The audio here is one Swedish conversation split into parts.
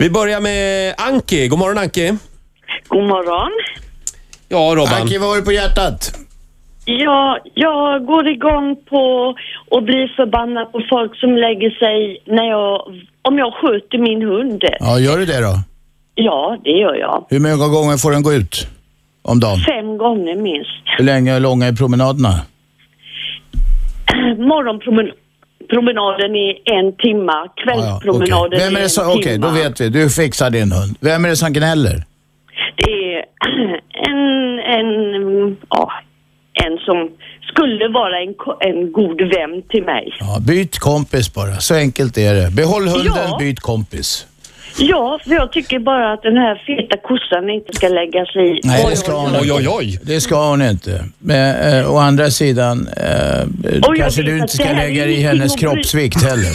Vi börjar med Anki. God morgon Anki. God morgon. Ja, Robban. Anki, vad har du på hjärtat? Ja, jag går igång på att bli förbannad på folk som lägger sig när jag, om jag skjuter min hund. Ja, gör du det då? Ja, det gör jag. Hur många gånger får den gå ut om dagen? Fem gånger minst. Hur länge och långa är promenaderna? Morgonpromenaden i en timma, Ja, ja, okej. kvällspromenaden Vem är i det en som, timma. Okej, då vet vi. Du fixar din hund. Vem är det som gnäller? Det är en, en, mm, ja, en som skulle vara en, ko- en god vän till mig. Ja, byt kompis bara, så enkelt är det. Behåll hunden, Ja. byt kompis. Ja, för jag tycker bara att den här feta kossan inte ska lägga sig i. Nej, det ska hon Oj, inte. oj, oj. Det ska hon inte. Men eh, å andra sidan eh, jag kanske vet du att inte det ska här är lägga dig i ingenting hennes att bry- kroppsvikt heller.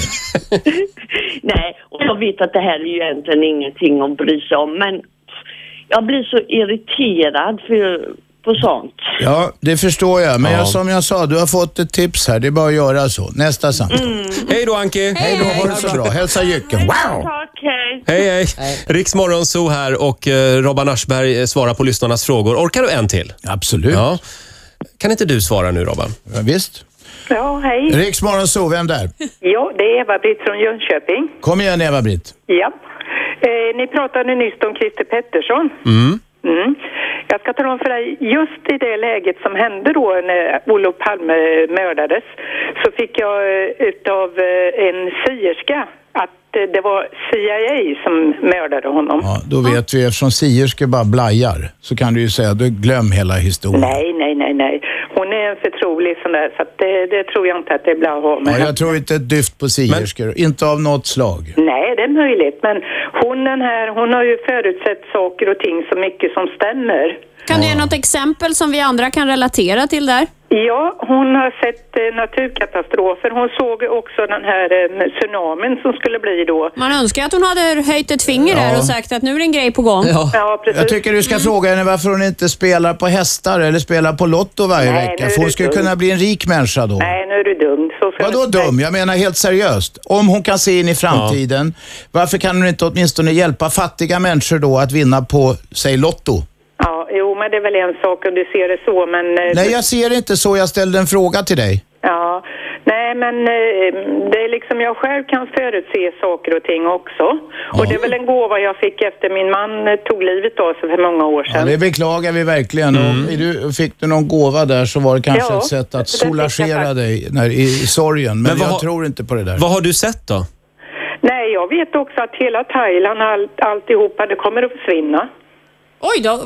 Nej, och jag vet att det här är ju egentligen ingenting att bry sig om, men jag blir så irriterad för, på sånt. Ja, det förstår jag. Men Ja. jag, som jag sa, du har fått ett tips här. Det är bara att göra så. Nästa samtal. Hej då Anki. Hej då, ha det så bra. Hälsa Jycken. Wow! Tack, hej. Hej, hej. Riksmorgon Zoo här och eh, Robban Aschberg eh, svarar på lyssnarnas frågor. Orkar du en till? Absolut. Ja. Ja. Kan inte du svara nu, Robban? Visst. Ja, hej. Riksmorgon så vem där? Ja, det är Eva-Britt från Jönköping. Kom igen Eva-Britt. Ja. Eh, ni pratade nyss om Christer Pettersson. Mm. Jag ska tala om för dig, just i det läget som hände då när Olof Palme mördades så fick jag eh, utav eh, en syerska att eh, det var CIA som mördade honom. Ja, då vet vi, eftersom sierskor bara blajar så kan du ju säga, du glöm hela historien. Nej, nej, nej, nej. Hon är en förtrolig sån där så att det, det tror jag inte att det blir att ha med Ja, jag tror inte ett dyft på sierskor, inte av något slag. Nej, det är möjligt. Men hon, den här, hon har ju förutsett saker och ting så mycket som stämmer. Kan du ge något exempel som vi andra kan relatera till där? Ja, hon har sett eh, naturkatastrofer. Hon såg också den här eh, tsunamin som skulle bli då. Man önskar att hon hade höjt ett finger där och sagt att nu är det en grej på gång. Ja, precis. Ah, Jag tycker du ska fråga henne varför hon inte spelar på hästar eller spelar på Lotto varje Nej, nu vecka, är för hon du skulle dum. kunna bli en rik människa då. Nej, nu är du dum. Så ska Vadå du inte- dum? Jag menar helt seriöst. Om hon kan se in i framtiden, varför kan hon inte åtminstone hjälpa fattiga människor då att vinna på, säg Lotto? Ja, jo, men det är väl en sak om du ser det så, men... eh, Nej, jag ser inte så. Jag ställde en fråga till dig. Ja, nej men eh, det är liksom jag själv kan förutse saker och ting också. Och det är väl en gåva jag fick efter min man eh, tog livet av sig för många år Ja, sedan. det beklagar vi verkligen. Och är du, fick du någon gåva där så var det kanske Ja, ett sätt det att fick jag soulagera faktiskt. dig när, i, i sorgen. Men, Men vad jag har- tror inte på det där. Vad har du sett då? Nej, jag vet också att hela Thailand, all, alltihopa, det kommer att försvinna. Oj då,